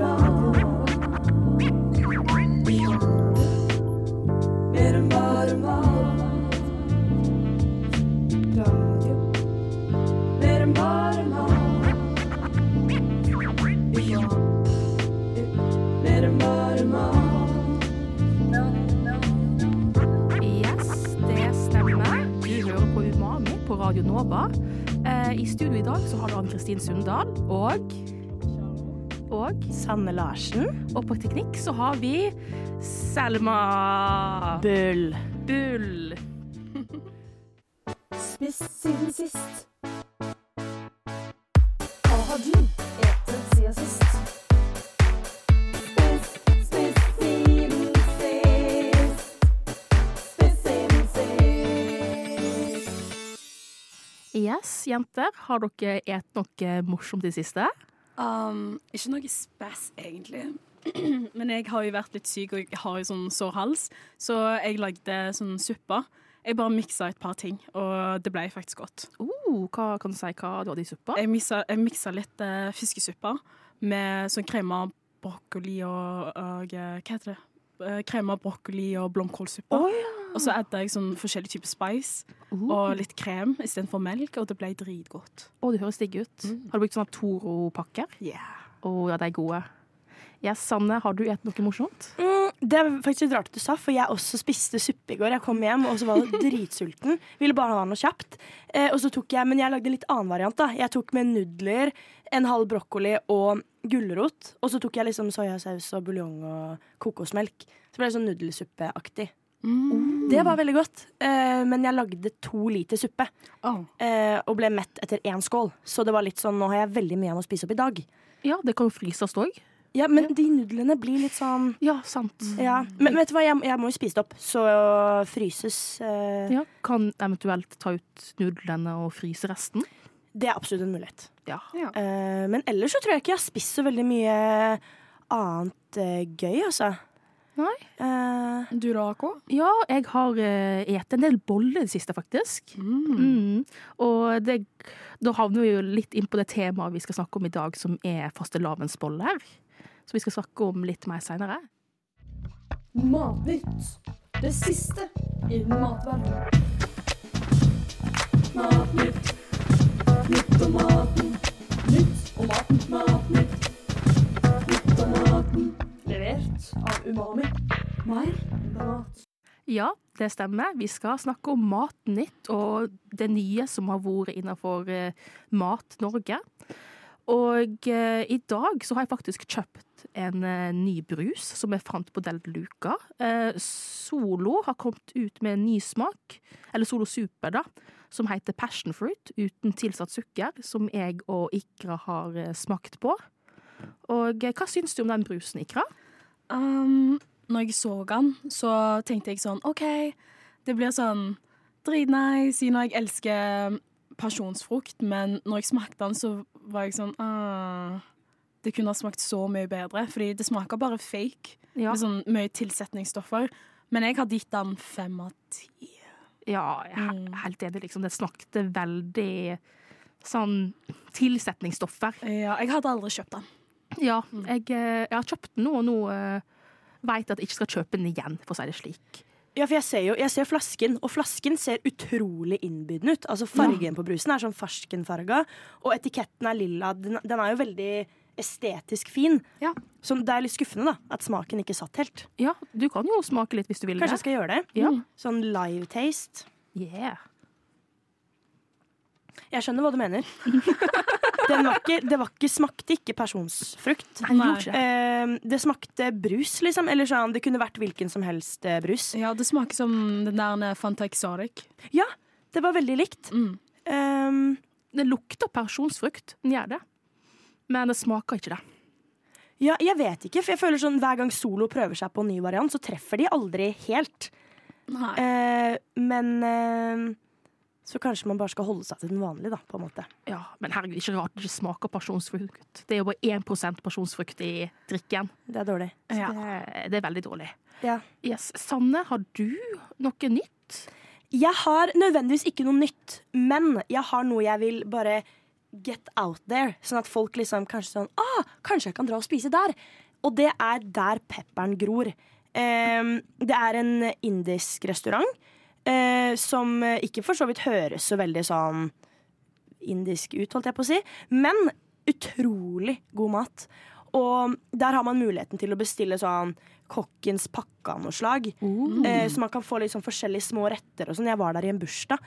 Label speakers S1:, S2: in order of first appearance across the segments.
S1: mat. Mer enn bare mat. Radio. Mer enn bare mat. Umami. Mer enn bare mat.
S2: Yes, det stemmer. Du hører på Umami på Radio Nova. Eh, I studio i dag så har du Ann-Kristin Sundal og Og
S3: Sanne Larsen.
S2: Og på teknikk så har vi Selma
S3: Bull.
S2: Bull.
S1: Spist siden sist. Hva har du etet siden sist? Spist, spist siden sist. Spist siden sist.
S2: Yes, jenter. Har dere et noe morsomt i siste?
S4: Um, ikke noe spass, egentlig. Men jeg har jo vært litt syk, og jeg har jo sånn sår hals, så jeg lagde sånn suppe. Jeg bare miksa et par ting, og det ble faktisk godt.
S2: Oh, hva kan du si hva du hadde i suppa?
S4: Jeg miksa, jeg miksa litt eh, fiskesuppe med sånn krema brokkoli og, og eh, Hva heter det? Eh, Krema brokkoli og blomkålsuppe. Og så adda jeg sånn forskjellig type spice
S2: uh.
S4: og litt krem istedenfor melk, og det ble dritgodt.
S2: Å, det høres digg ut. Har du brukt sånne Toro-pakker?
S4: Yeah.
S2: Å ja, de er gode. Yes, Sanne, har du et noe morsomt?
S3: Mm, det er faktisk litt rart at du sa, for jeg også spiste suppe i går. Jeg kom hjem og så var jeg dritsulten. Ville bare ha noe kjapt. Eh, og så tok jeg, Men jeg lagde en litt annen variant. da. Jeg tok med nudler, en halv brokkoli og gulrot. Og så tok jeg liksom soyasaus og buljong og kokosmelk. Så ble det sånn nudelsuppeaktig.
S4: Mm.
S3: Det var veldig godt. Eh, men jeg lagde to liter suppe
S4: Oh.
S3: eh, og ble mett etter én skål. Så det var litt sånn, nå har jeg veldig mye igjen å spise opp i dag.
S2: Ja, det kan jo fryses òg.
S3: Ja, Men de nudlene blir litt sånn
S2: Ja, sant. Eh,
S3: Ja, Men vet du hva, jeg, jeg må jo spise det opp, så fryses eh,
S2: Ja, kan eventuelt ta ut nudlene og fryse resten.
S3: Det er absolutt en mulighet.
S2: Ja.
S3: Eh, men ellers så tror jeg ikke jeg har spist så veldig mye annet eh, gøy, altså.
S2: Nei.
S3: Eh,
S4: Du da, K?
S2: ja, jeg har uh, et en del boller i det siste, faktisk. Mm. Og det, da havner vi jo litt inn på det temaet vi skal snakke om i dag, som er fastelavnsboller. Som vi skal snakke om litt mer seinere.
S1: Matnytt. Det siste i matverdenen. Matnytt. Nytt om maten. Nytt om maten. Matnytt. Nytt om maten. Levert av Umami. Mer mat.
S2: Ja, det stemmer. Vi skal snakke om Matnytt og det nye som har vært innenfor eh, Mat Norge. Og eh, i dag så har jeg faktisk kjøpt en eh, ny brus som jeg fant på Del Luca. Eh, Solo har kommet ut med en ny smak, eller Solo Super, da, som heter passion fruit uten tilsatt sukker, som jeg og Ikra har eh, smakt på. Og eh, hva syns du om den brusen, Ikra?
S4: Um, når jeg så han, så tenkte jeg sånn OK, det blir sånn dritnice, siden jeg elsker pasjonsfrukt, men når jeg smakte den, så var jeg sånn ah, Det kunne ha smakt så mye bedre, fordi det smaker bare fake.
S2: Ja,
S4: Med sånn mye tilsetningsstoffer. Men jeg har gitt den fem av ti.
S2: Ja, jeg er
S3: Mm.
S2: he- helt enig. Liksom. Det snakket veldig sånn tilsetningsstoffer.
S4: Ja, jeg hadde aldri kjøpt den.
S2: Ja,
S3: Mm.
S2: jeg, eh, jeg har kjøpt den nå, og nå eh, vet jeg at jeg ikke skal kjøpe den igjen, for å si det slik.
S3: ja, for jeg ser jo jeg ser flasken, og flasken ser utrolig innbydende ut. Altså Fargen på brusen er sånn farskenfarga, og etiketten er lilla. Den, den er jo veldig estetisk fin.
S2: Ja.
S3: Så det er litt skuffende da, at smaken ikke satt helt.
S2: Ja, du kan jo smake litt hvis du vil
S3: Kanskje jeg
S2: det.
S3: skal gjøre det?
S2: Ja.
S3: Sånn live taste.
S2: Yeah.
S3: Jeg skjønner hva du mener. Den var ikke, det var ikke, smakte ikke personsfrukt.
S2: Nei,
S4: Nei.
S2: gjorde ikke det.
S3: Eh, det smakte brus, liksom. Eller sånn, det kunne vært hvilken som helst eh, brus.
S4: Ja, Det smaker som den der Fanta Exotic.
S3: Ja, det var veldig likt.
S4: Mm.
S3: Eh,
S2: Det lukter personsfrukt, den gjør det. Men det smaker ikke det.
S3: ja, jeg vet ikke, for jeg føler sånn hver gang Solo prøver seg på en ny variant, så treffer de aldri helt.
S4: Nei.
S3: Eh, men eh, så kanskje man bare skal holde seg til den vanlige, da, på en måte.
S2: Ja, Men herregud, ikke rart det ikke smaker personsfrukt. Det er jo bare 1 personsfrukt i drikken.
S3: Det er dårlig.
S4: Ja.
S2: Det, det er veldig dårlig.
S3: Ja.
S2: Yes. Sanne, har du noe nytt?
S3: Jeg har nødvendigvis ikke noe nytt, men jeg har noe jeg vil bare get out there. Sånn at folk liksom kanskje sånn Ah, kanskje jeg kan dra og spise der. Og det er der pepperen gror. Ehm, det er en indisk restaurant eh, som ikke for så vidt høres så veldig sånn indisk ut, holdt jeg på å si, men utrolig god mat. Og der har man muligheten til å bestille sånn kokkens pakke av noe slag. Eh, så man kan få litt sånn forskjellige små retter og sånn. Jeg var der i en bursdag,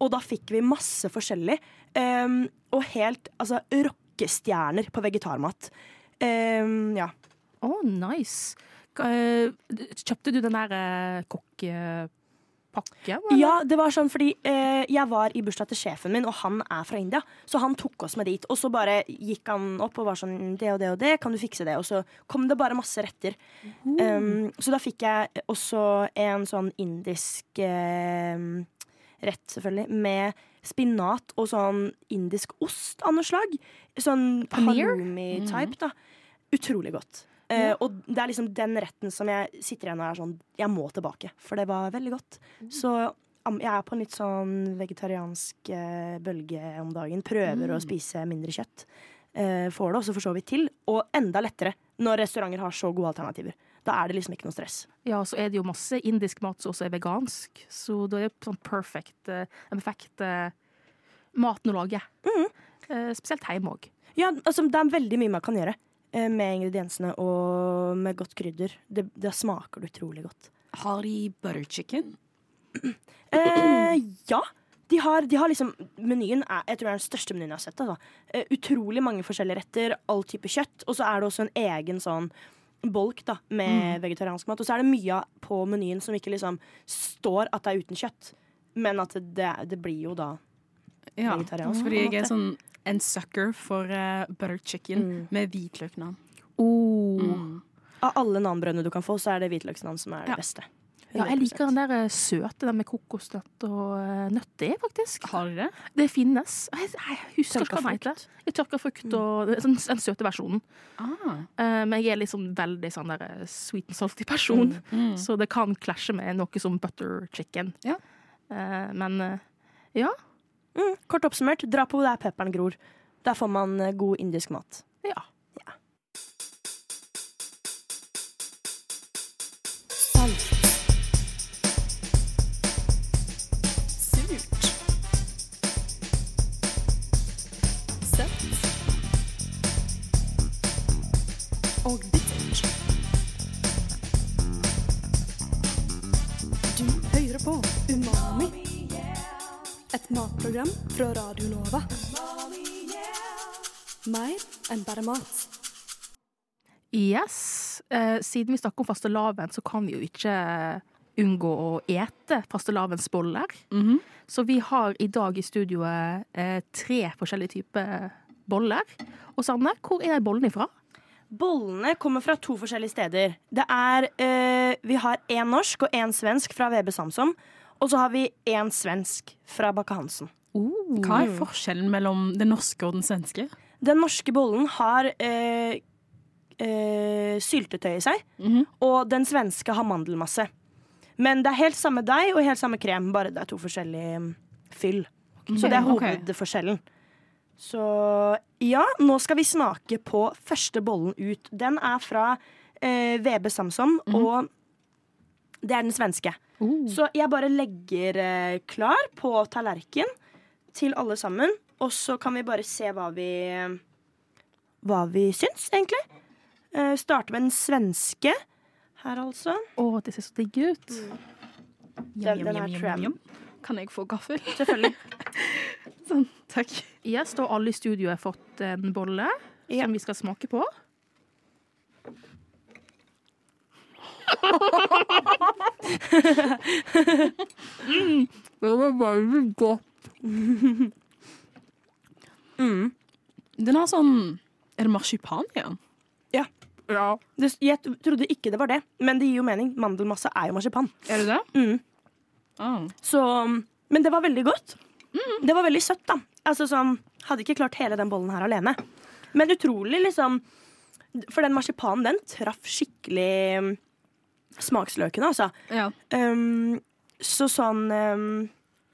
S3: og da fikk vi masse forskjellig. Um, og helt altså rockestjerner på vegetarmat. Um, ja.
S2: Å, nice. K- eh, Kjøpte du den der eh, kokkepakken? eller?
S3: ja, det var sånn fordi eh, jeg var i bursdag til sjefen min, og han er fra India. Så han tok oss med dit. Og så bare gikk han opp og var sånn det og det og det, kan du fikse det? Og så kom det bare masse retter. Um, så da fikk jeg også en sånn indisk eh, rett, selvfølgelig, med spinat og sånn indisk ost av noe slag. Sånn
S2: Paneer?
S3: halloumi-type, da. Utrolig godt. Eh, og det er liksom den retten som jeg sitter igjen og er sånn Jeg må tilbake, for det var veldig godt. Så am- jeg er på en litt sånn vegetariansk eh, bølge om dagen. Prøver å spise mindre kjøtt. Eh, får det også for så vidt til. Og enda lettere når restauranter har så gode alternativer. Da er det liksom ikke noe stress.
S2: Ja, så er det jo masse indisk mat som også er vegansk, så da er det sånn perfect, eh, en perfekt eh, mat å lage. Eh, spesielt hjemme òg.
S3: Ja, altså det er veldig mye man kan gjøre eh, med ingrediensene og med godt krydder. Det, det smaker det utrolig godt.
S4: Har de butter chicken?
S3: Eh, ja. De har, de har liksom Menyen er jeg tror det er den største menyen jeg har sett. Altså. Eh, utrolig mange forskjellige retter, all type kjøtt. Og så er det også en egen sånn bolk da, med
S2: Mm.
S3: vegetariansk mat. Og så er det mye på menyen som ikke liksom står at det er uten kjøtt. Men at det, det blir jo da
S4: Ja,
S3: Vegetariansk,
S4: fordi
S3: på en
S4: jeg er
S3: måte. Mm.
S4: sånn en sucker for eh, butter chicken med Mm. hvitløknavn.
S2: Oh.
S3: Av alle nanbrødene du kan få, så er det hvitløksnavn som er
S4: Ja.
S3: det beste.
S2: Ja, jeg
S3: 100%.
S2: liker den der eh, søte, den med kokosnøtt og eh, nøtter, faktisk.
S4: Har de det?
S2: Det finnes. Jeg, jeg husker ikke hva den heter. Jeg Tørka frukt og den, den søte versjonen.
S4: Ah.
S2: Eh, men jeg er liksom veldig sånn der eh, sweet and salty person,
S4: Mm.
S2: så det kan klasje med noe som butter chicken.
S4: Ja.
S2: Eh, men eh,
S3: Mm, kort oppsummert, dra på der pepperen gror. Der får man eh, god indisk mat.
S2: ja.
S5: Surt. Søtt. Og bittert. Du hører på Umami. Et matprogram fra Radio Nova. Mer enn bare mat.
S2: Yes. Eh, siden vi snakker om fastelavn, så kan vi jo ikke unngå å ete fastelavnsboller. Så vi har i dag i studioet eh, tre forskjellige typer boller. Og Sanne, hvor er bollen ifra?
S3: Bollene kommer fra to forskjellige steder. Det er, eh, Vi har én norsk og én svensk fra VB Samsom. Og så har vi én svensk fra Bakke Hansen.
S4: Hva er forskjellen mellom det norske og den svenske?
S3: Den norske bollen har eh, eh, syltetøy i seg,
S4: Mhm.
S3: og den svenske har mandelmasse. Men det er helt samme deig og helt samme krem, bare det er to forskjellige mm, fyll. Så det er
S4: ok.
S3: hovedforskjellen. Så ja, nå skal vi smake på første bollen ut. Den er fra eh, VB Samsom,
S4: Mhm.
S3: og det er den svenske.
S4: Uh.
S3: Så jeg bare legger eh, klar på tallerken til alle sammen. Og så kan vi bare se hva vi Hva vi syns, egentlig. Eh, Starte med den svenske her, altså.
S2: Å, det ser så digg ut.
S3: Den, den her tror jeg
S4: Kan jeg få gaffel?
S3: Selvfølgelig.
S4: Sånn, takk.
S2: Yes, da har alle i studioet fått en bolle
S3: Ja.
S2: som vi skal smake på. Det var veldig godt.
S4: Den har sånn Er det marsipan i den?
S2: Ja.
S3: Det, jeg t- trodde ikke det var det, men det gir jo mening. Mandelmasse er jo marsipan.
S4: Er det det?
S3: Mm.
S4: Ah.
S3: Så, um, men det var veldig godt. Det var veldig søtt, da. Altså sånn, Hadde ikke klart hele den bollen her alene. Men utrolig, liksom. For den marsipanen, den traff um, skikkelig mm, smaksløkene, altså.
S4: Ja.
S3: Um, så sånn um,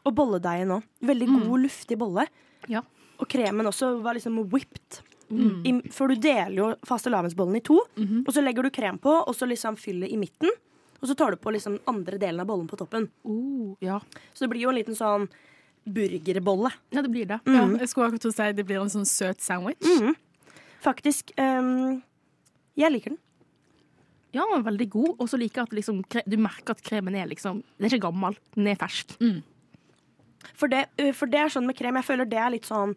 S3: Og bolledeigen òg. Veldig god, luftig bolle.
S2: Ja.
S3: Og kremen også var liksom whipped. I, for du deler jo fastelavnsbollen i to, og så legger du krem på, og så liksom fyller i midten. Og så tar du på liksom andre delen av bollen på toppen.
S2: Oh, ja.
S3: Så det blir jo en liten sånn burgerbolle.
S2: ja, det blir det.
S3: Mm.
S4: Ja, jeg skulle akkurat til å si det blir en sånn søt sandwich.
S3: Faktisk. ehm, jeg liker den.
S2: Ja, den er veldig god. Og så liker jeg at liksom, kre- du merker at kremen er liksom Den er ikke gammel, den er fersk.
S3: For det, eh, for det er sånn med krem. Jeg føler det er litt sånn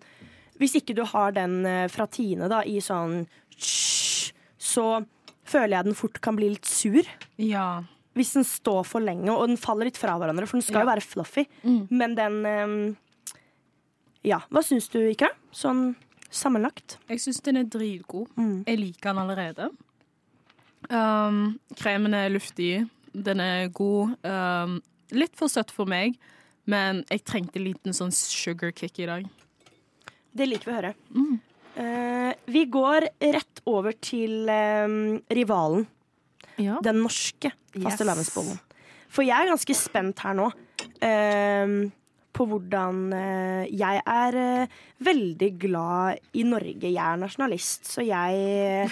S3: Hvis ikke du har den eh, fra Tine da, i sånn tsj, så føler jeg den fort kan bli litt sur.
S4: Ja.
S3: Hvis den står for lenge, og den faller litt fra hverandre, for den skal jo være fluffy. Men den ehm, Ja. Hva syns du, Ikra? Sånn sammenlagt.
S4: Jeg syns den er dritgod. Jeg liker den allerede. Um, kremen er luftig, den er god. Um, litt for søtt for meg, men jeg trengte en liten sånn sugar kick i dag.
S3: Det liker vi å høre. Eh, vi går rett over til ehm, rivalen.
S2: Ja.
S3: den norske fastelavnsbollen. For jeg er ganske spent her nå ehm, på hvordan eh, Jeg er eh, veldig glad i Norge. Jeg er nasjonalist, så jeg,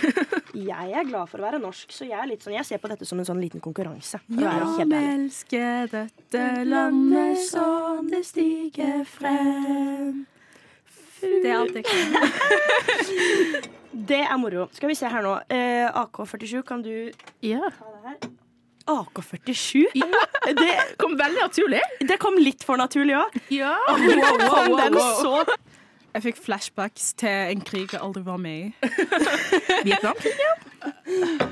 S3: jeg er glad for å være norsk. Så jeg, er litt sånn, jeg ser på dette som en sånn liten konkurranse. for å være helt ærlig.
S4: elsker dette landet som det stiger frem.
S6: Det er alt jeg kan.
S3: Det er moro. Skal vi se her nå. Eh, AK47, kan du
S2: Ja.
S3: ta det her? AK47? Det,
S2: Kom veldig naturlig.
S3: det kom litt for naturlig òg.
S2: Ja.
S3: Kom
S6: Sånn
S3: den så
S4: Jeg fikk flashbacks til en krig jeg aldri var med i.
S2: Vietnam.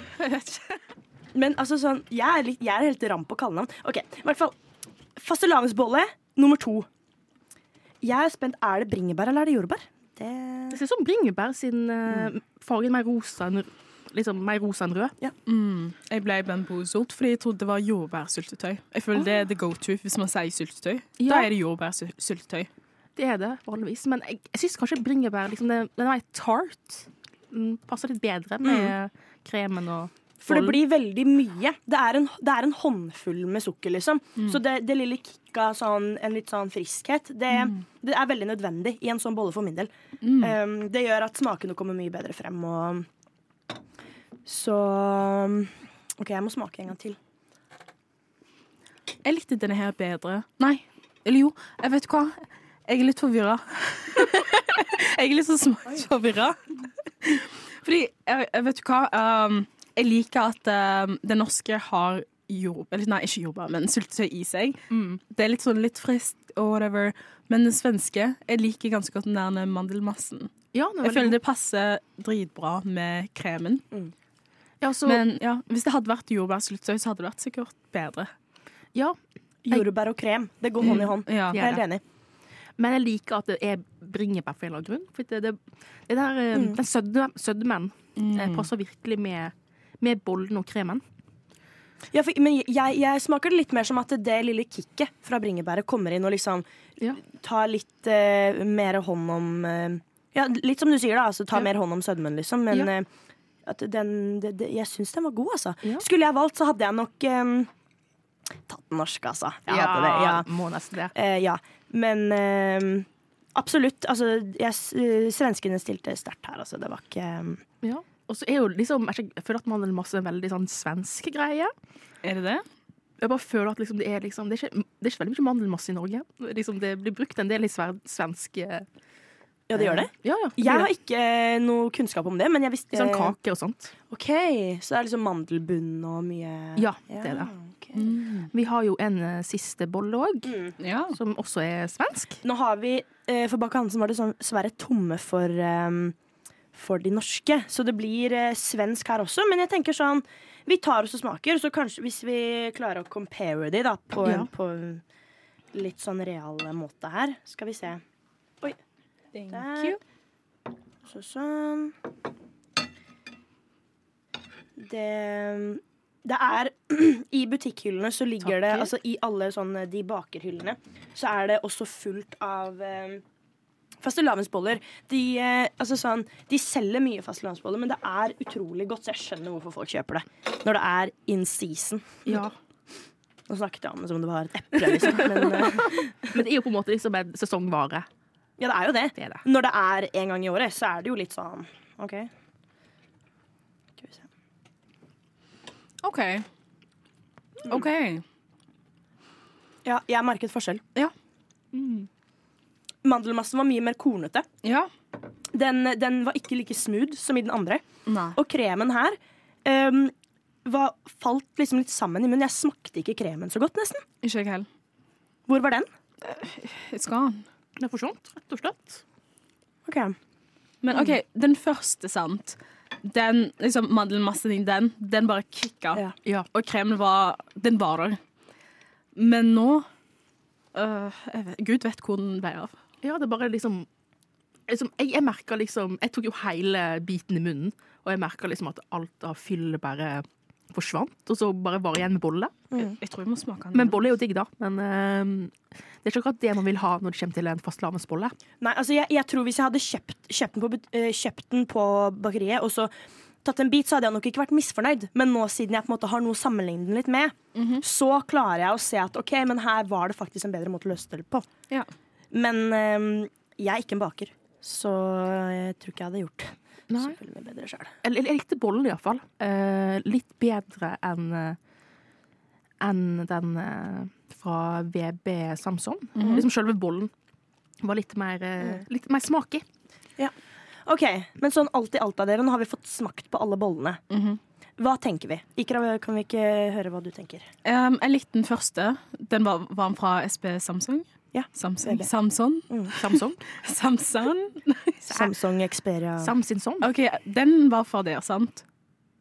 S3: Men altså sånn, jeg er, litt, jeg er helt ram på kallenavn. Ok, i hvert fall Fastelavnsbolle nummer to. Jeg er spent. Er det bringebær eller er det jordbær? Det
S2: Det ser ut som bringebær sin eh, fargen mer rosa enn liksom, mer rosa enn rød.
S4: Jeg ble bamboozled fordi jeg trodde det var jordbærsyltetøy. Jeg føler det er the go to hvis man sier syltetøy.
S2: Ja.
S4: Da er det jordbærsyltetøy.
S2: Det er det vanligvis, men jeg, jeg syns kanskje bringebær liksom, det, Den er mer tart. Mm, passer litt bedre med kremen og
S3: For det blir veldig mye. Det er en, det er en håndfull med sukker, liksom. Så det, det lille kicket av sånn, en litt sånn friskhet, det, det er veldig nødvendig i en sånn bolle for min del. Um, det gjør at smakene kommer mye bedre frem, og Så OK, jeg må smake en gang til.
S4: Jeg likte denne her bedre. Nei, eller jo, jeg vet hva. Jeg er litt forvirra. jeg er litt så smaksforvirra. Fordi, jeg, jeg vet hva, um, jeg liker at um, det norske har jord... Eller nei, ikke jordbær, men syltetøy i seg.
S2: Mm.
S4: Det er litt sånn litt friskt og whatever. Men den svenske, jeg liker ganske godt den der mandelmassen.
S2: Ja, den er
S4: Jeg
S2: veldig
S4: føler det passer dritbra med kremen.
S2: god. ja, så,
S4: Men ja, hvis det hadde vært jordbærsyltetøy, så hadde det vært sikkert bedre.
S2: ja,
S3: Jordbær og krem. Det går hånd i hånd.
S4: Ja.
S3: Jeg er helt enig.
S2: men jeg liker at det er bringebær for en eller annen grunn. For det, det, det der, eh, Den sødme, sødmen eh, passer virkelig med, med bollen og kremen.
S3: Ja, for, men jeg, jeg smaker det litt mer som at det lille kicket fra bringebæret kommer inn og liksom
S2: Ja.
S3: tar litt eh, mer hånd om eh, Ja, litt som du sier, da. Altså, ta mer hånd om sødmen, liksom. Men
S2: Ja.
S3: eh, at den, det, det, jeg syns den var god, altså.
S2: Ja.
S3: Skulle jeg valgt, så hadde jeg nok eh, tatt den norske, altså. Jeg hadde det, ja.
S2: må nesten det.
S3: Eh, ja. Men eh, absolutt. Altså, jeg, s- eh, svenskene stilte sterkt her, altså. Det var ikke
S2: Ja. Og så er jo liksom, jeg ikke- jeg føler at mandelmasse er en veldig sånn svensk greie.
S4: Er det det?
S2: Jeg bare føler at liksom, det er liksom det er, ikke, det er ikke veldig mye mandelmasse i Norge. Liksom, det blir brukt en del i sver, svensk eh,
S3: Ja, det gjør det? Liksom
S2: Ja, ja.
S3: Jeg har ikke eh, noe kunnskap om det, men jeg visste eh,
S2: Litt sånn kake og sånt.
S3: Ok, så det er liksom mandelbunn og mye
S2: Ja, det Mm. er det.
S3: ok.
S2: Vi har jo en eh, siste bolle òg,
S4: Ja.
S2: som også er svensk.
S3: Nå har vi, eh, for Bakke Hansen var det sånn svære tomme for, eh, for de norske, så det blir eh, svensk her også, men jeg tenker sånn, vi tar oss og smaker, så kanskje hvis vi klarer å compare de da, på,
S2: Ja.
S3: en, på en litt sånn real måte her, skal vi se. Oi, der.
S4: you.
S3: Så sånn. Det det er I butikkhyllene så ligger det
S2: Takker.
S3: Altså i alle sånne de bakerhyllene så er det også fullt av eh, fastelavnsboller. De, eh, altså sånn, de selger mye fastelavnsboller, men det er utrolig godt, så jeg skjønner hvorfor folk kjøper det. Når det er in season.
S2: Ja.
S3: Nå snakket jeg om det som om det var et eple, liksom. Men eh,
S2: Men det er jo på en måte liksom en sesongvare.
S3: ja, det er jo det.
S2: Det er det.
S3: Når det er en gang i året, så er det jo litt sånn OK. Skal vi se.
S4: OK.
S3: Mm.
S4: OK.
S3: Ja, jeg merket forskjell. Mm.
S4: Ja.
S3: Mandelmassen var mye mer kornete.
S4: Ja.
S3: Den, den var ikke like smooth som i den andre.
S4: Nei.
S3: Og kremen her ehm, var, falt liksom litt sammen i munnen. Jeg smakte ikke kremen så godt, nesten.
S4: Ikke jeg heller.
S3: Hvor var den?
S4: It's gone.
S2: Det er forsvant, rett og slett.
S3: Ok.
S4: Men OK, den første, sant. Den liksom, mandelmassen din, den, den bare kicka.
S3: Ja.
S2: Ja.
S4: Og kremen var Den var der. Men nå øh, jeg vet, Gud vet hvor den ble av.
S2: Ja, det er bare liksom, liksom Jeg, jeg merker liksom Jeg tok jo hele biten i munnen, og jeg merker liksom at alt av fyll bare forsvant, og så bare var jeg igjen med bolle.
S3: Mm.
S4: Jeg, jeg tror jeg må smake den.
S2: Men bolle er jo digg, da. Men eh, det er ikke akkurat det man vil ha når det kommer til en fastlavnsbolle.
S3: Nei, altså jeg, jeg tror hvis jeg hadde kjøpt, kjøpt, den på, but- eh, kjøpt den på bakeriet og så tatt en bit, så hadde jeg nok ikke vært misfornøyd. Men nå siden jeg på en måte har noe å sammenligne den litt med, så klarer jeg å se at ok, men her var det faktisk en bedre måte å løse det på.
S4: Ja.
S3: Men eh, jeg er ikke en baker, så jeg tror ikke jeg hadde gjort det så
S2: Nei.
S3: veldig mye bedre sjøl.
S2: Eller eller jeg likte bollen iallfall. Uh, litt bedre enn eh, enn den eh, fra VB Samson. Liksom selve bollen var litt mer, eh, litt mer smak i.
S3: Ok, Men sånn alt i alt av dere, nå har vi fått smakt på alle bollene. Hva tenker vi? Ikra, kan vi ikke høre hva du tenker?
S4: Um, jeg likte den første. Den var, var den fra SB Samsung.
S3: Ja,
S4: Samsung.
S3: det. Mm.
S4: Samson.
S2: Samson.
S4: Samson.
S3: Samsung Xperia
S2: Samsinson.
S4: OK, den var fra der, sant?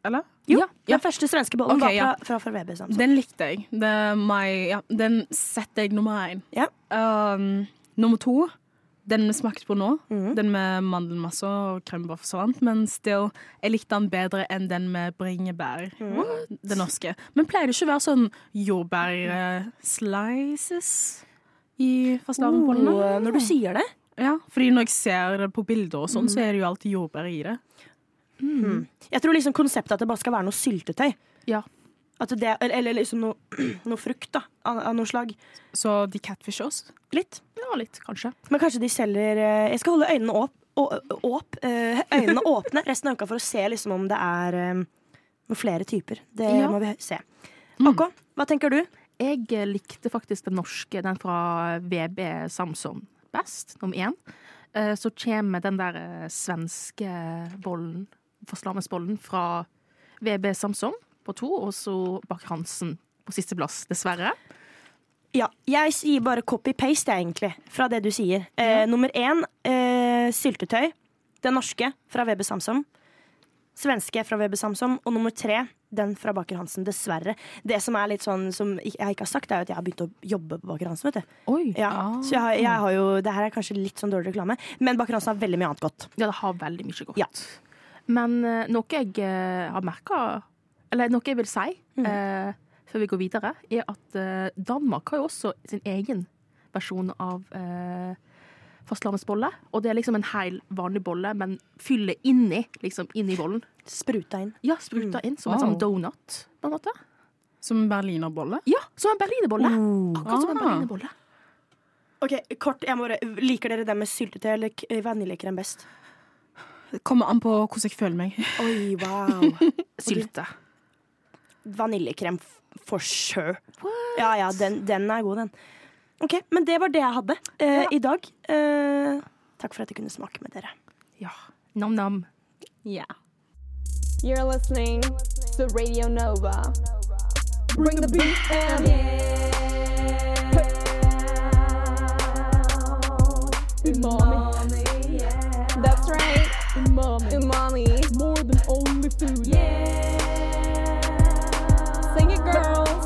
S4: Eller?
S3: Jo,
S2: Ja,
S3: den første svenske bollen
S4: Ok,
S3: var
S4: ja.
S3: fra, fra, fra VB Samsung.
S4: Den likte jeg. Det er my, ja, den setter jeg nummer én.
S3: Ja.
S4: Um, nummer to, den vi smakte på nå,
S2: Mhm.
S4: den med mandelmasse og krem bare forsvant, men still, jeg likte den bedre enn den med bringebær.
S2: Mhm.
S4: Den norske. Men pleier det ikke å være sånn jordbærslices i fastelavnbollene?
S2: Uh.
S3: Og når du sier det
S4: Ja, fordi når jeg ser det på bilder og sånn, så
S2: Mhm.
S4: er det jo alltid jordbær i det.
S3: Jeg tror liksom konseptet at det bare skal være noe syltetøy.
S2: Ja.
S3: At det, eller, eller liksom noe, noe frukt da, av, av noe slag.
S4: Så de catfisher oss.
S3: Litt.
S2: ja, litt, kanskje.
S3: Men kanskje de selger eh, Jeg skal holde øynene åp, å, åp, eh, øynene åpne resten av uka for å se liksom om det er eh, noen flere typer. Det
S2: Ja. Mm.
S3: må vi se. OK, hva tenker du?
S2: Jeg eh, likte faktisk den norske, den fra VB Samson, best, nummer én. Eh, Så kommer den der eh, svenske bollen, fastlavnsbollen, fra VB Samson på to, og så Bak Hansen på sisteplass, dessverre.
S3: Ja, jeg sier bare copy-paste, jeg, egentlig, fra det du sier. Eh, Nummer én, eh, syltetøy. Den norske fra VB Samsom. Svenske fra VB Samsom. Og nummer tre, den fra Baker Hansen, dessverre. Det som er litt sånn som jeg ikke har sagt, er jo at jeg har begynt å jobbe på Baker Hansen, vet du.
S2: Oi! Ja,
S3: Ja. Så jeg har, jeg har jo Det her er kanskje litt sånn dårlig reklame, men Baker Hansen har veldig mye annet godt.
S2: det har veldig mye godt.
S3: Ja.
S2: Men eh, noe jeg eh, har merka, eller noe jeg vil si eh, før vi går videre, er at eh, Danmark har jo også sin egen versjon av eh, fastlandsbolle. Og det er liksom en hel vanlig bolle, men fyller inni, liksom inni bollen.
S3: Spruta inn.
S2: Ja, spruta inn som en
S4: Wow.
S2: sånn donut, på en måte.
S4: Som berlinerbolle.
S2: Ja, Oh. som en berlinerbolle. Akkurat som en
S4: Ah.
S2: berlinerbolle.
S3: OK, kort. Jeg må, bare- liker dere det med syltetøy eller k- vaniljekrem best?
S4: Det Kommer an på hvordan jeg føler meg.
S3: Oi, wow.
S2: Sylte.
S3: vaniljekrem f- for sure. Ja, ja, den, den er god, den. Ok, Men det var det jeg hadde eh, i dag. Eh, takk for at jeg kunne smake med dere.
S2: Ja. Nam-nam.
S4: Yeah.
S7: You're listening to Radio Nova. Bring the beat and umami. That's right, umami. Umami. More than only food. Yeah. Sing it, girls.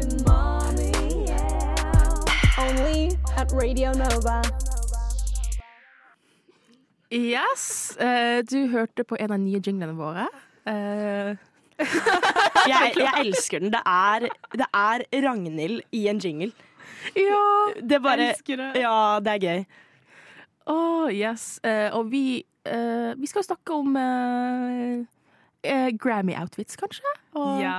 S7: Umami. Yeah. Only at Radio Nova.
S2: Yes! eh, du hørte på en av nye jinglene våre. Eh,
S3: Jeg, jeg elsker den. Det er, det er Ragnhild i en jingle.
S2: ja!
S3: Det bare
S4: Elsker det.
S3: Ja, det er gøy.
S2: Åh, yes. Eh, og vi, eh, vi skal snakke om eh, eh, Grammy-outfits, kanskje. Og,
S4: Ja.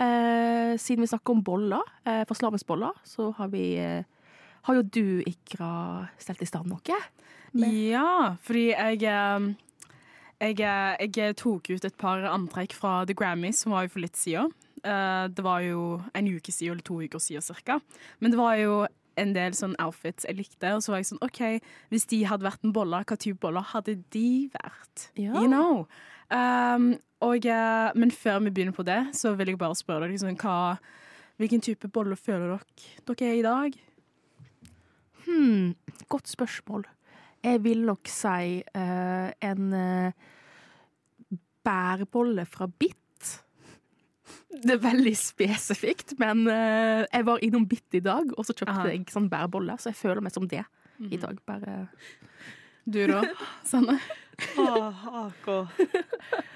S2: Eh, siden vi snakker om boller, eh, fastelavnsboller, så har vi eh, Har jo du, Ikra, stelt i stand noe?
S4: Ja, fordi jeg eh, jeg, eh, jeg tok ut et par antrekk fra The Grammys, som var jo for litt siden. Eh, det var jo en uke siden eller to uker siden cirka. Men det var jo en del sånn outfits jeg likte, og så var jeg sånn OK, hvis de hadde vært en bolle, hva type boller hadde de vært?
S2: Ja.
S4: You know? Um, og, eh, men før vi begynner på det, så vil jeg bare spørre dere sånn, hva, hvilken type bolle føler dere dere er i dag?
S2: Hmm, godt spørsmål. Jeg vil nok si eh, en eh, bærbolle fra Bitt. Det er veldig spesifikt, men eh, jeg var innom Bitt i dag, og så kjøpte
S4: Aha.
S2: jeg sånn bærbolle, så jeg føler meg som det i dag. Bare
S4: Du da, Sanne?
S3: Åh, AK.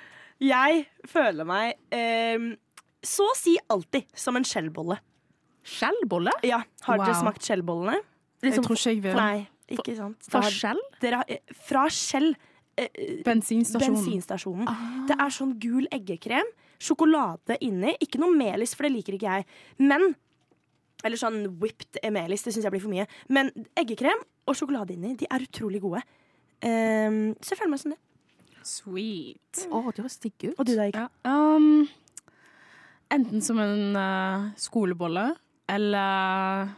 S3: Jeg føler meg ehm, så å si alltid som en skjellbolle.
S2: skjellbolle?
S3: Ja, har dere
S4: Wow.
S3: smakt skjellbollene?
S4: Jeg
S2: Liksom
S4: tror ikke jeg vil.
S3: Nei, ikke sant. Da
S2: fra
S3: har-
S2: skjell?
S3: Dere har, eh, fra skjell. eh, eh,
S4: Bensinstasjon.
S3: Bensinstasjonen.
S4: Ah.
S3: Det er sånn gul eggekrem, sjokolade inni. Ikke noe melis, for det liker ikke jeg. Men Eller sånn whipped melis, det syns jeg blir for mye. Men eggekrem og sjokolade inni, de er utrolig gode. Ehm, så jeg føler meg som det.
S4: Sweet.
S2: Å, du høres digg ut.
S3: Og du da, Ikke?
S4: Ja. Um, enten som en eh, skolebolle eller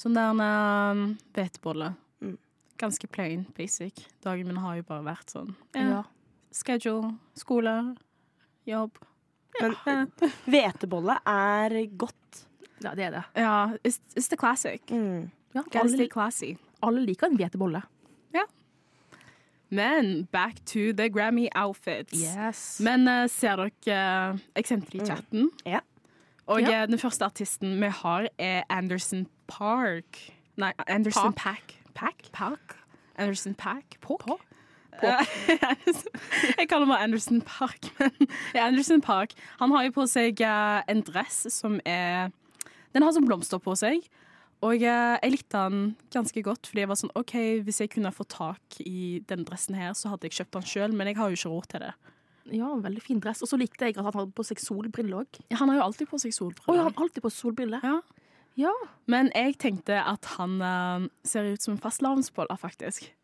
S4: sånn der en eh, hvetebolle.
S3: Mm.
S4: Ganske plain, basic. Dagen min har jo bare vært sånn. Ja.
S2: Ja.
S4: Schedule, skole, jobb.
S3: Men hvetebolle er godt.
S2: ja, det er det.
S4: Ja, it's, it's the classic.
S3: Mm.
S2: Ja,
S4: Gotta
S2: alle,
S4: stay classy.
S2: alle liker en hvetebolle.
S4: Men back to the Grammy outfits. Men eh, ser dere eh, eksempler i chatten?
S3: Ja.
S4: Og
S2: Mm. Ja.
S4: eh, den første artisten vi har, er Anderson Park. Nei, Anderson Pack. Pack? Anderson Pack? Påk? jeg kaller meg Anderson Park, men ja, Anderson Park Han har jo på seg eh, en dress som er Den har sånn blomster på seg. Og eh, jeg likte han ganske godt, fordi jeg var sånn OK, hvis jeg kunne få tak i den dressen her, så hadde jeg kjøpt den sjøl, men jeg har jo ikke råd til det.
S2: Ja, veldig fin dress. Og så likte jeg at han hadde på seg solbriller òg.
S4: Ja, Han har jo alltid på seg solbriller.
S2: Å ja, han har alltid på solbriller.
S4: Ja.
S2: Ja.
S4: Men jeg tenkte at han eh, ser ut som en fastelavnsbolle, faktisk.
S2: Å,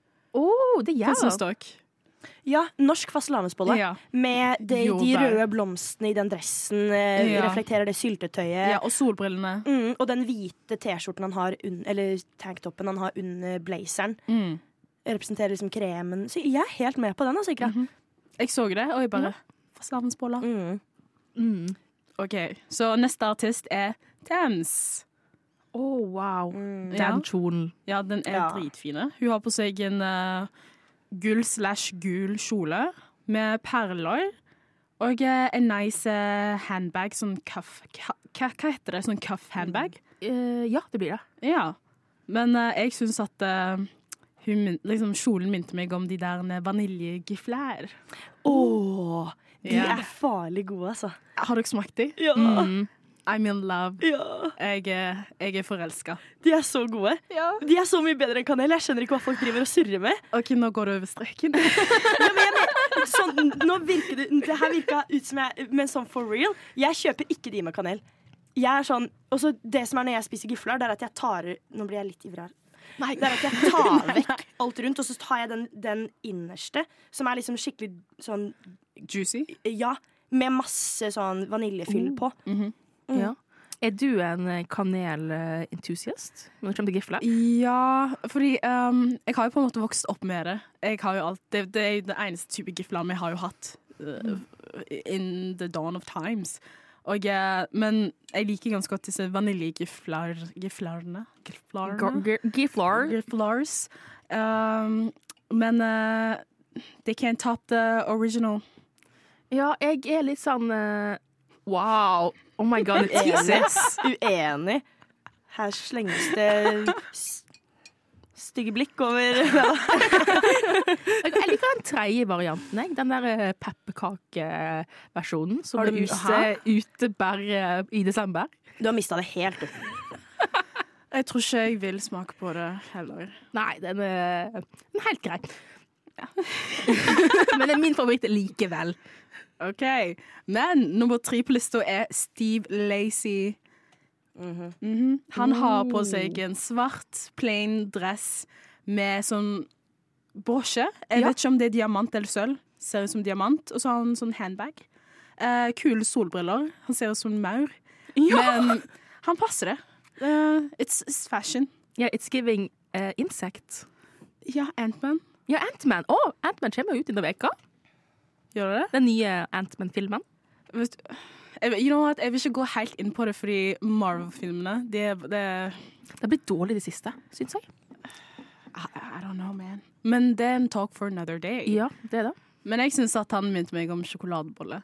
S2: Oh, det
S4: Hva
S2: gjør
S4: syns
S2: han.
S4: dere?
S3: Ja, norsk fastelavnsbolle.
S4: Ja.
S3: Med de, de
S4: Jordbær.
S3: røde blomstene i den dressen, eh,
S4: Ja.
S3: reflekterer det syltetøyet.
S4: Ja, og solbrillene.
S3: Mm, og den hvite T-skjorten han har un Eller tanktoppen han har under blazeren,
S4: Mm.
S3: representerer liksom kremen. Så jeg er helt med på den, altså, Ikra.
S4: Jeg så det, og jeg bare Fastelavnsbolle.
S3: Mm.
S2: Mm.
S4: OK, så neste artist er Thames.
S2: Å, Oh, wow.
S3: Mm.
S4: Ja.
S2: Den kjolen.
S4: Ja, den er
S3: Ja.
S4: dritfine. Hun har på seg en eh, gull slash gul kjole med perler. Og eh, en nice eh, handbag, sånn cuff ka, Hva hva heter det? Sånn cuff handbag?
S2: Eh, ja, det blir det.
S4: Ja, men eh, jeg syns at eh, hun, min- liksom, kjolen minte meg om de der med vaniljegiflær.
S3: Åh, de
S4: Ja.
S3: er farlig gode, altså. Mm.
S4: Har dere smakt de?
S3: Ja.
S4: I'm in love.
S3: ja.
S4: Jeg, er- jeg er forelska.
S3: De er så gode. De er så mye bedre enn kanel. Jeg skjønner ikke hva folk driver og surrer med.
S4: OK, nå går det over streken.
S3: Sånn, nå virker det, det her virka ut som jeg Men sånn for real. Jeg kjøper ikke de med kanel. Jeg er sånn, og så Det som er når jeg spiser gifler, det er at jeg tar Nå blir jeg litt ivrig her. Det er at jeg tar vekk alt rundt, og så tar jeg den, den innerste, som er liksom skikkelig sånn
S4: Juicy.
S3: Ja, med masse sånn vaniljefyll på.
S2: Ja. Er du en eh, kanel-entusiast når det kommer til gifle?
S4: Ja, fordi ehm, jeg har jo på en måte vokst opp med det. Jeg har jo alt, det, det er jo den eneste type giflan jeg har jo hatt eh, in the dawn of times. Og, eh, men jeg liker ganske godt disse vaniljegiflarene. Giflarene?
S2: Giflar.
S4: Giflars. Ehm, men eh, they can't top the original.
S2: Ja, jeg er litt sånn eh, Wow. Oh my god, Jesus.
S3: Uenig. Her slenges det s- stygge blikk over
S2: Jeg jeg liker den tredje varianten, jeg. Den der eh, pepperkakeversjonen som
S3: Har
S2: er
S3: du-
S2: ute,
S3: Hæ?
S2: ute bare eh, i desember.
S3: Du har mista det helt. du.
S4: Jeg tror ikke jeg vil smake på det heller.
S2: Nei, den er, den er eh, helt grei. Men det er min favoritt likevel.
S4: OK. Men nummer tre på lista er Steve Lacey. Mhm. Han har på seg en svart, plain dress med sånn brosje. Jeg
S2: Ja.
S4: vet ikke om det er diamant eller sølv. Ser ut som diamant. Og så har han sånn handbag. Eh, kule solbriller. Han ser ut som en maur. Men han passer det. Eh, it's, it's fashion.
S2: Ja, It's Giving eh, Insect.
S4: Ja, Antman.
S2: Ja, Antman. Å, Antman kommer jo ut denne veka
S4: Gjør det det?
S2: Den nye Antman-filmen.
S4: Vet, jeg, you know what? jeg vil ikke gå helt inn på det, fordi Marvel-filmene de, er- det er
S2: Det har blitt dårlig i det siste, syns jeg.
S4: I, I don't know, man. Men det er en talk for another day.
S2: Ja, det er det.
S4: Men jeg syns at han minte meg om sjokoladebolle.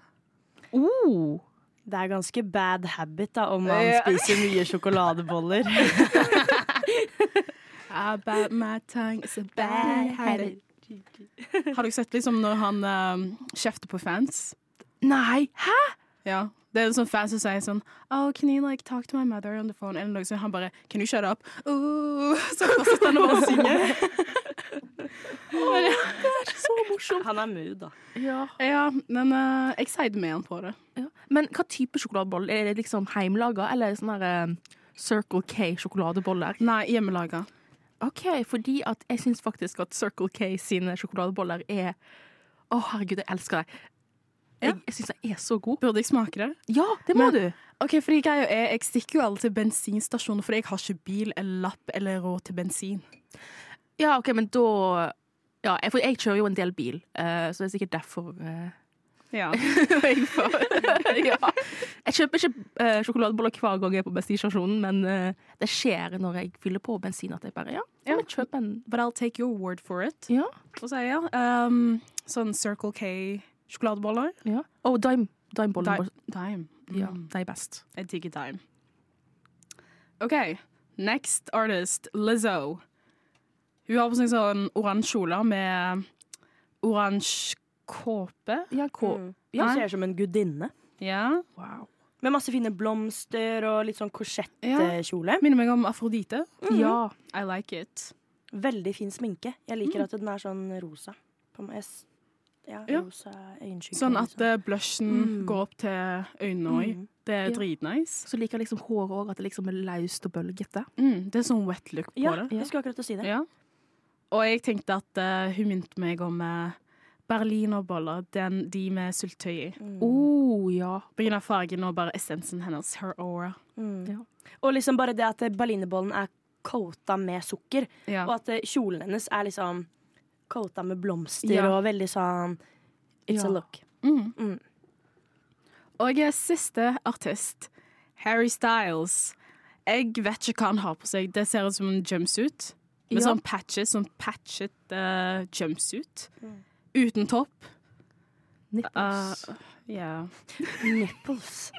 S2: Oh.
S3: Det er ganske bad habit da, om man spiser mye sjokoladeboller.
S4: About my tongue is a bad habit. Har dere sett liksom når han eh, kjefter på fans?
S2: Nei, hæ?
S4: Ja. Det er en sånn fan som sier sånn Oh, can you like talk to my mother on the phone? Eller noe sånt. Han bare Can you shut up? Ooh. Så fortsetter han å bare synge.
S3: Han er mood, da.
S2: Ja.
S4: Ja, men eh, jeg sier det med han på det.
S2: Ja. Men hva type sjokoladebolle? Er det liksom heimlaga, eller er det sånne her, eh, Circle K-sjokoladeboller?
S4: Nei, hjemmelaga.
S2: OK, fordi at jeg syns faktisk at Circle K sine sjokoladeboller er Å, herregud, jeg elsker dem. Jeg, jeg syns de er så gode.
S4: Burde jeg smake det?
S2: Ja, det må
S4: Men-
S2: du!
S4: Ok, fordi greia er, Eh, Jeg stikker jo alle til bensinstasjoner, for jeg har ikke bil eller lapp eller råd til bensin.
S2: Ja, OK, men da ja, jeg- For jeg kjører jo en del bil, eh, så det er sikkert derfor eh,
S4: Ja.
S2: jeg får ja. Jeg kjøper ikke eh, sjokoladeboller hver gang jeg er på bensinstasjonen, men eh, det skjer når jeg fyller på bensin at jeg bare Ja,
S4: Ja.
S2: ja. men kjøp en
S4: But I'll take your word for it.
S2: Ja.
S4: Og så er jeg, um, sånn Circle K-sjokoladeboller.
S2: ja. Oh, Og dime. Dimebollene
S4: Di
S2: våre.
S4: dime.
S2: Ja,
S4: Mm,
S2: de er best.
S4: Jeg digger dime. OK. Next artist, Lizzo. Hun har på seg sånn oransje kjole med oransje kåpe.
S2: Ja, K.
S3: Ja. Hun ser ut som en gudinne.
S4: Ja.
S2: Wow.
S3: Med masse fine blomster og litt sånn korsettkjole.
S4: Minner meg om Afrodite.
S2: Ja.
S4: I like it.
S3: Veldig fin sminke. Jeg liker at den er sånn rosa. På meg. Jeg s- Ja,
S4: Ja.
S3: rosa øyenskygge.
S4: Sånn at
S3: liksom.
S4: eh, blushen
S3: Mm.
S4: går opp til øynene òg.
S3: Mm.
S4: Det er
S2: Ja.
S4: dritnice.
S2: Så liker jeg liksom håret òg, at det liksom er løst og bølgete.
S4: Mm, det er sånn wet look på
S3: Ja,
S4: det.
S3: jeg skulle akkurat til å si det.
S4: Ja. Og jeg tenkte at eh, hun minte meg om eh, berlinerboller, den, de med syltetøy i.
S2: Å
S3: Mm.
S2: oh, ja.
S4: På grunn av fargen og bare essensen hennes, her aura.
S3: Mm.
S2: Ja.
S3: Og liksom bare det at eh, berlinerbollen er coata med sukker,
S4: Ja.
S3: og at eh, kjolen hennes er liksom coata med blomster
S4: Ja.
S3: og veldig sånn It's
S2: Ja.
S3: a look.
S4: Mm.
S3: Mm.
S4: Og eh, siste artist, Harry Styles. Jeg vet ikke hva han har på seg. Det ser ut som en jumpsuit. Med
S2: Ja.
S4: sånn patches, sånn patchet eh, jumpsuit. Uten topp.
S2: Nipples.
S4: Ja.
S3: Nipples.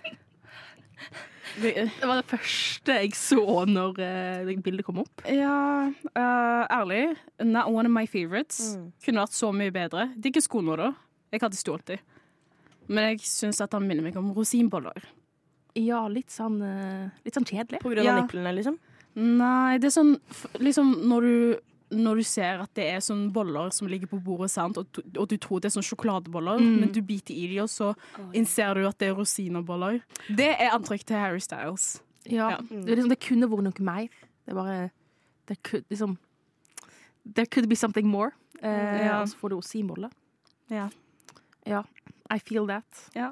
S4: Vi- eh,
S2: det var det første jeg så når eh, det bildet kom opp.
S4: Ja, eh, ærlig. Not one of my favorites.
S3: Mm.
S4: Kunne vært så mye bedre. Digger skoene da. Jeg hadde stolt dem. Men jeg syns at han minner meg om rosinboller.
S2: Ja, litt sånn, eh, litt sånn kjedelig.
S3: På grunn av
S4: Ja.
S3: nipplene, liksom.
S4: Nei, det er sånn f- liksom når du, når du ser at det er sånn boller som ligger på bordet, sant? Og, du- og du tror det er sånn sjokoladeboller,
S2: Mm.
S4: men du biter i dem, og så innser du at det er rosinerboller. Det er antrekk til Harry Styles.
S2: Ja.
S4: Ja.
S2: Det, er liksom, det kunne vært noe mer. Det er bare det could, liksom, There could be something more. Eh,
S4: Ja.
S2: Og så får du rosinbolle.
S4: Ja.
S2: Ja. I feel that.
S4: Ja.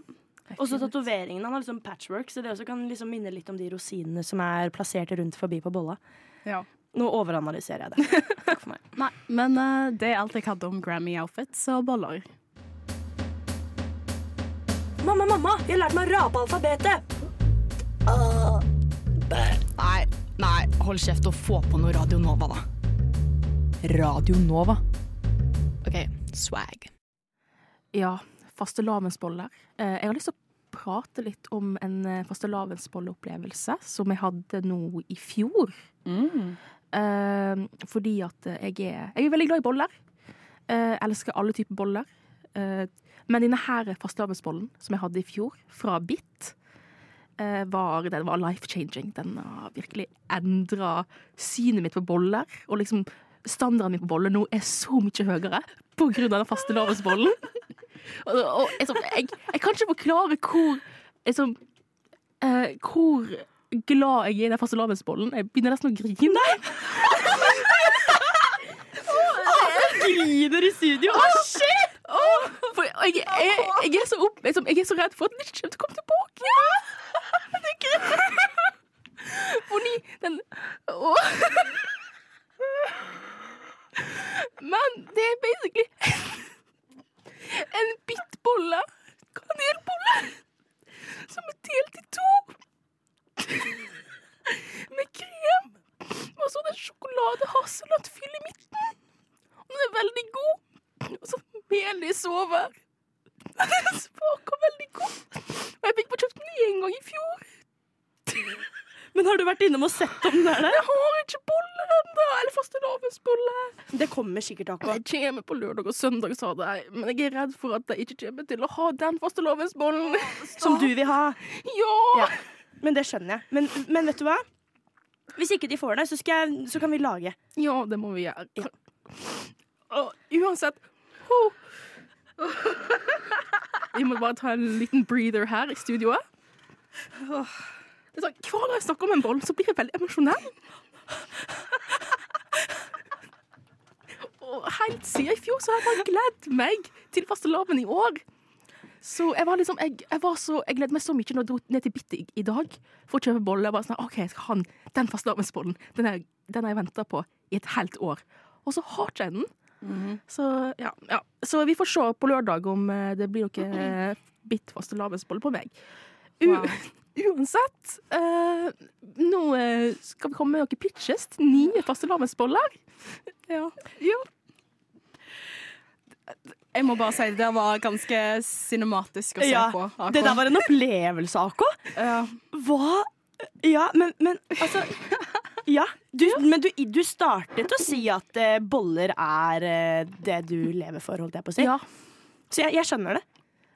S2: I
S3: Og så
S2: feel it.
S3: tatoveringene. Han har liksom patchwork, så det også kan liksom minne litt om de rosinene som er plassert rundt forbi på bolla.
S4: Ja.
S3: Nå overanalyserer jeg det. Takk for meg.
S4: Nei, men eh, det er alt jeg hadde om Grammy-outfits og boller.
S5: Mamma, mamma, jeg har lært meg å rape alfabetet!
S8: Nei, nei, hold kjeft og få på noe Radio Nova, da. Radio Nova. OK, swag.
S2: Ja, fastelavnsboller. Eh, Jeg har lyst til å prate litt om en eh, fastelavnsbolleopplevelse som jeg hadde nå i fjor.
S4: Mm.
S2: Eh, fordi at eh, jeg er, jeg er veldig glad i boller. Eh, elsker alle typer boller. Eh, men denne her fastelavnsbollen som jeg hadde i fjor, fra Bitt, eh, var, den var life-changing. Den har virkelig endra synet mitt på boller. Og liksom standarden min på boller nå er så mye høyere på grunn av den faste lavensbollen. Og, og jeg, sånn, jeg, jeg kan ikke forklare hvor jeg, sånn, eh, Hvor glad jeg er i den faste lavensbollen. Jeg begynner nesten å grine.
S3: Griner i studio. Å, shit!
S2: For jeg, jeg, jeg, er så opp, jeg, som- jeg er så redd for at den ikke kommer til å komme tilbake igjen. Det er ikke- Fordi den Åh. Men det er basically en bittbolle, kanelbolle, som er delt i to. Med krem. Og så er det sjokolade-hasselnøttfyll i midten. Og den er veldig god. Og så melis over. Den smaker veldig godt. Og jeg fikk bare kjøpt den én gang i fjor.
S3: Men har du vært innom og sett om den er der?
S2: Jeg har ikke boller ennå. Eller fastelavnsbolle.
S3: Det kommer sikkert, Ako.
S2: Det kommer på lørdag og søndag, sa de. Men jeg er redd for at de ikke kommer til å ha den fastelavnsbollen.
S3: Som du vil ha.
S2: Ja!
S3: Ja. Men det skjønner jeg. Men, men vet du hva? Hvis ikke de får det, så, skal jeg, så kan vi lage.
S2: Ja, det må vi gjøre. Og uansett ho. Vi må bare ta en liten breather her i studioet. Det er sånn, Hver gang jeg snakker om en boll, så blir jeg veldig emosjonell. Og helt siden i fjor så har jeg bare gledet meg til fastelavn i år. Så jeg var liksom, jeg, jeg var så, jeg gledet meg så mye når jeg dro ned til Bitte i, i dag for å kjøpe boller. Jeg bare sånn, ok, jeg skal ha den, den fastelavnsbollen. Den har jeg- den har jeg ventet på i et helt år. Og så har ikke jeg den. så, ja, ja. så vi får se på lørdag om eh, det blir noe eh, bittfastelavnsbolle på meg. U
S4: Wow.
S2: Uansett, eh, nå eh, skal vi komme med noen pitches til nye fastelavnsboller. Ja. ja.
S4: Jeg må bare si det der var ganske cinematisk å se
S3: Ja,
S4: på. Akon.
S3: Det der var en opplevelse, Ako.
S4: Ja.
S3: Hva Ja, men, men altså Ja. Du, men du, du startet å si at eh, boller er eh, det du lever for, holdt jeg på å si.
S2: ja.
S3: Så jeg, jeg skjønner det.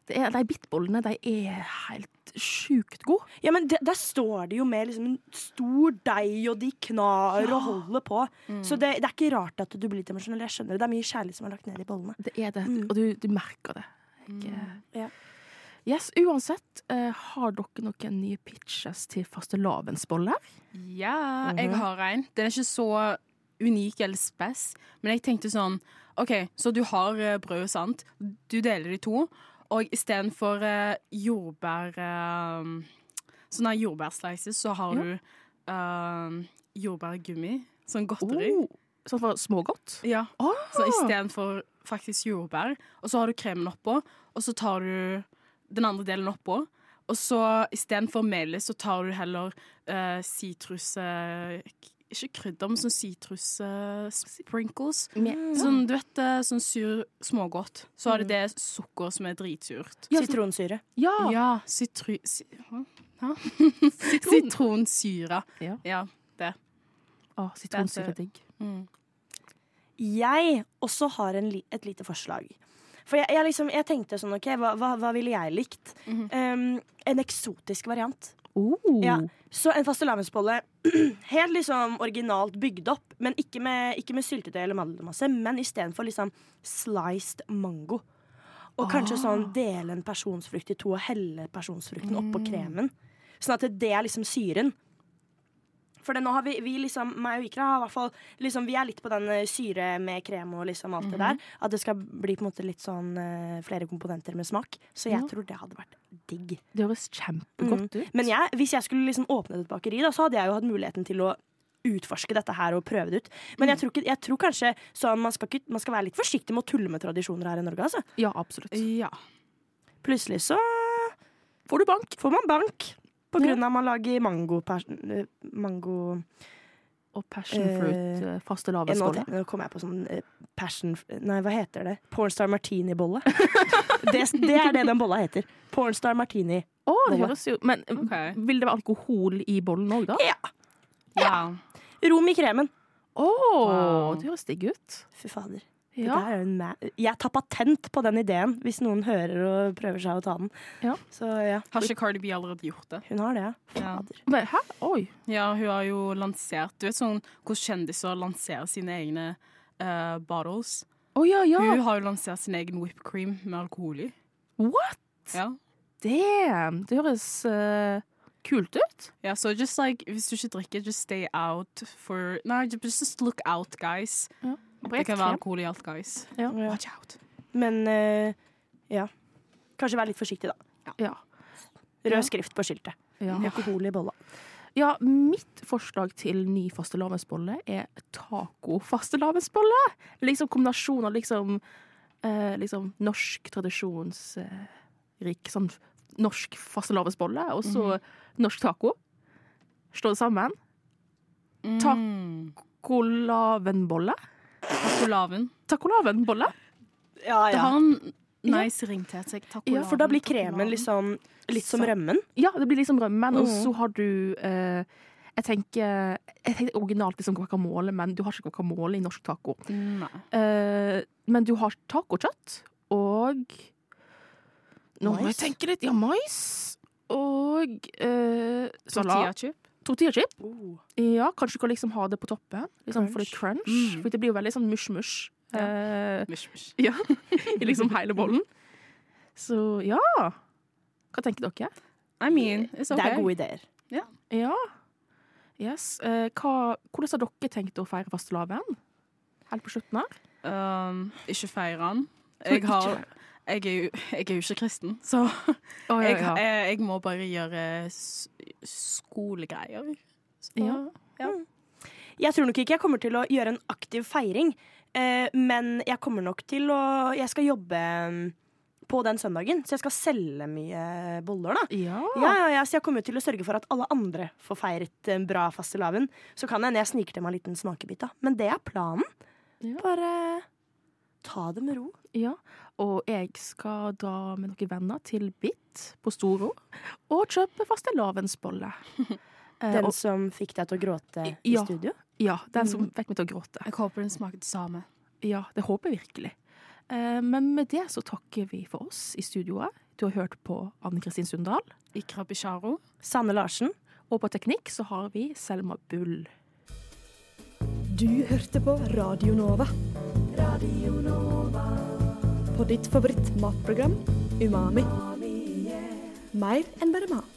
S2: Det er, de bittbollene de er helt sjukt gode.
S3: Ja, men det, Der står det jo med liksom, en stor deig, og de knar og holder på. Så det, det er ikke rart at du blir litt emosjonell. Jeg skjønner Det Det er mye kjærlighet som er lagt ned i bollene.
S2: Det er det, og du, du merker det. Jeg, eh,
S3: Mm. Ja.
S2: Yes, Uansett, eh, har dere noen nye pitches til fastelavnsboller?
S4: Ja, jeg har en. Den er ikke så unik eller spes, men jeg tenkte sånn OK, så du har eh, brød, sant? Du deler det i to, og istedenfor uh, jordbær eh, Sånne her jordbærslices, så har
S2: Ja.
S4: du eh, jordbærgummi. Sånn godteri.
S2: Sånn for smågodt?
S4: Ja.
S2: Ah.
S4: Så istedenfor faktisk jordbær, og så har du kremen oppå, og så tar du den andre delen oppå. Og så istedenfor melis, så tar du heller eh, sitrus... eh, k- ikke krydder, men sånn sitrus-sprinkles.
S2: Med,
S4: Sånn, du vet, eh, sånn sur smågodt. Så
S2: Mm.
S4: har du det sukker som er dritsurt.
S3: Sitronsyre.
S2: ja,
S4: Ja, sitru... Si, hæ? Hæ?
S2: sitron.
S4: Sitronsyre.
S2: Ja.
S4: ja.
S2: Å, sitronsyre er digg.
S4: Mm.
S3: Jeg også har en, li- et lite forslag. For jeg, jeg, liksom, jeg tenkte sånn, ok, hva, hva, hva ville jeg likt? um, en eksotisk variant.
S2: Oh.
S3: Ja. Så en fastelavnsbolle, helt liksom originalt bygd opp, men ikke med, ikke med syltetøy eller mandelmasse, men istedenfor liksom sliced mango. Og kanskje
S2: Ah.
S3: sånn dele en personsfrukt i to og helle personsfrukten oppå
S2: Mm.
S3: kremen. Sånn at det er liksom syren. For det, nå har vi, vi liksom, meg og Ikra har i hvert fall liksom, Vi er litt på den eh, syre med krem og liksom alt
S2: Mhm.
S3: det der. At det skal bli på en måte litt sånn eh, flere komponenter med smak. Så jeg
S2: Ja.
S3: tror det hadde vært digg.
S2: Det høres kjempegodt ut.
S3: Men jeg, hvis jeg skulle liksom åpnet et bakeri, da, så hadde jeg jo hatt muligheten til å utforske dette her og prøve det ut. Men jeg tror, ikke, jeg tror kanskje sånn, man, skal ikke, man skal være litt forsiktig med å tulle med tradisjoner her i Norge. Altså.
S2: Ja, absolutt.
S4: ja.
S3: Plutselig så
S2: Får du bank?
S3: får man bank på
S2: Ja.
S3: grunn av man lager mango... pers- eh, mango
S2: Og passion fruit eh,
S3: eh, nå, te-
S2: fastelavnsboller.
S3: nå kom jeg på sånn eh, passion... Nei, hva heter det? Pornstar martini-bolle. det, det er det den bolla heter. Pornstar martini.
S2: Å, det
S3: bolle.
S2: høres jo Men eh,
S4: Ok.
S2: vil det være alkohol i bollen òg,
S3: Eh,
S2: da?
S4: Wow.
S3: Rom i kremen.
S2: Å,
S4: Wow.
S2: det høres digg ut.
S3: Fy fader. Det
S2: Ja.
S3: der er jo en ma- Jeg tar patent på den ideen, hvis noen hører og prøver seg å ta den.
S2: Ja.
S3: Så ja,
S4: Har ikke Cardi B allerede gjort det?
S3: hun har det, ja.
S4: Ja.
S3: Fader.
S2: Men hæ? Oi.
S4: Ja, hun har jo lansert Du vet sånn hvordan kjendiser lanserer sine egne eh, bottles.
S2: Å ja, ja.
S4: Hun har jo lansert sin egen whipped cream med alkohol i.
S2: What?
S4: Ja.
S2: Damn! Det høres eh, kult ut.
S4: Ja, så just like, hvis du ikke drikker, just stay out for Nei, just- just look out, guys. Det kan være alkohol i alt, guys.
S2: Ja.
S4: Watch out.
S3: Men eh, ja. Kanskje vær litt forsiktig, da.
S2: Ja. Ja.
S3: Rød skrift på skiltet.
S2: Ja.
S3: Alkohol i bolla.
S2: ja, mitt forslag til ny fastelavnsbolle er taco-fastelavnsbolle. Liksom kombinasjon av liksom, eh, liksom norsk tradisjonsrik sånn norsk fastelavnsbolle og så
S4: Mhm.
S2: norsk taco. Slå det sammen.
S4: Mm.
S2: Kolavenbolle.
S4: Takolaven.
S2: Tacolavenbolle.
S3: Ja,
S4: Det har en nice ring til seg. Takolaven.
S3: Ja, for da blir kremen
S4: takolaven.
S3: liksom litt som rømmen.
S2: Ja, det blir liksom rømmen,
S4: Mm.
S2: og
S3: Mhm.
S2: så har du eh, jeg tenker, jeg tenker originalt liksom guacamole, men du har ikke guacamole i norsk taco.
S4: Nei.
S2: Eh, men du har tacokjøtt og Nå må jeg
S3: Mais.
S2: tenke litt. Ja, mais. Og eh,
S4: Tortilla
S2: salat.
S4: chip.
S2: Tortilla-chip. Ja, kanskje du kan liksom ha det på toppen. Liksom For litt crunch.
S4: Mm.
S2: For det blir jo veldig sånn mush-mush
S4: Ja.
S2: eh,
S4: Mish, mish.
S2: i liksom hele bollen. Så ja. Hva tenker dere?
S4: I mean, it's
S3: Det
S4: okay.
S3: er gode ideer.
S2: Ja. Yes. Eh, hva, hvordan har dere tenkt å feire fastelavn? Helt på slutten her?
S4: Um, ikke feire den.
S2: Som
S4: Jeg,
S2: ikke
S4: har,
S2: feire.
S4: jeg, er jo, jeg er jo ikke kristen, så jeg,
S2: Jeg-
S4: jeg, jeg må bare gjøre s skolegreier. Så-
S2: Ja.
S3: Jeg tror nok ikke jeg kommer til å gjøre en aktiv feiring, eh, men jeg kommer nok til å Jeg skal jobbe mm, på den søndagen, så jeg skal selge mye boller, da.
S2: Ja.
S3: Ja, ja, ja, så jeg kommer jo til å sørge for at alle andre får feiret en bra fastelavn. Så kan det hende jeg sniker til meg en liten smakebit, da. Men det er planen.
S2: Ja.
S3: Bare ta det med ro.
S2: Ja, og jeg skal dra med noen venner til Bit på Storo og kjøpe fastelavnsbolle. Eh,
S3: Den
S2: og,
S3: som fikk deg til å gråte i
S2: Ja.
S3: studio.
S2: ja, den
S3: Mm.
S2: som fikk meg til å gråte.
S4: Jeg håper den smaker det samme.
S2: Ja, det håper jeg virkelig. Eh, men med det så takker vi for oss i studioet. Du har hørt på Anne Kristin Sundal,
S4: Ikra Bisharo.
S3: Sanne Larsen.
S2: og på teknikk så har vi Selma Bull.
S5: Du hørte på Radio Nova. På ditt favoritt matprogram Umami. Mer enn bare mat.